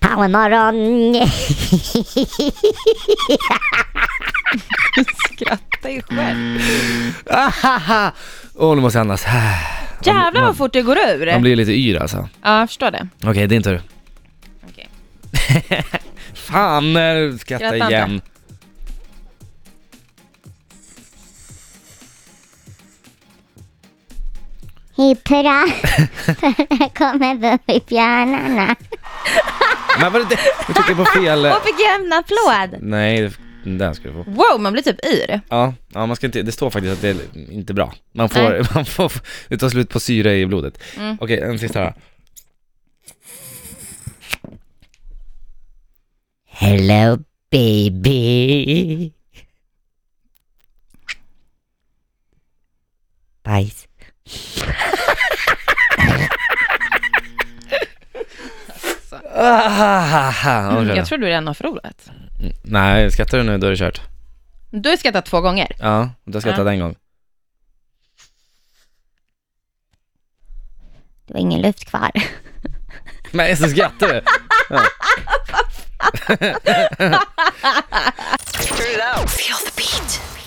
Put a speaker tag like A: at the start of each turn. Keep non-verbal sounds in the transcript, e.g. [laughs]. A: Hallå morgon!
B: Skratta ju
C: Mm.
B: själv.
C: Ahaha! Åh, nu måste jag andas.
B: Jävlar vad fort det går ur.
C: Man blir lite yr alltså.
B: Ja, jag förstår det.
C: Okej, din tur.
B: Okej.
C: Fan, skratta, skratta
B: Skratta inte.
C: igen.
A: Hippra! [laughs] kommer Bumbibjörnarna.
C: Men var det det? Nu tryckte jag på fel...
B: Och fick jag en applåd.
C: Nej, den där ska du få.
B: Wow, man blir typ yr.
C: Ja, ja man ska inte, det står faktiskt att det är inte bra. Man får, [laughs] man får, det tar slut på syre i blodet.
B: Mm.
C: Okej, en sista då.
A: Hello baby! Bajs.
C: Ah, Ahaha, vad
B: Mm,
C: känner
B: jag
C: du?
B: tror du redan har förlorat.
C: ah, Nej, skrattar du nu då är det kört.
B: Du har ju skrattat två gånger.
C: Ja, du har skrattat en gång.
A: Det var ingen luft kvar.
C: Men så skrattar
B: [laughs]
C: du.
D: Turn it up. Feel the beat.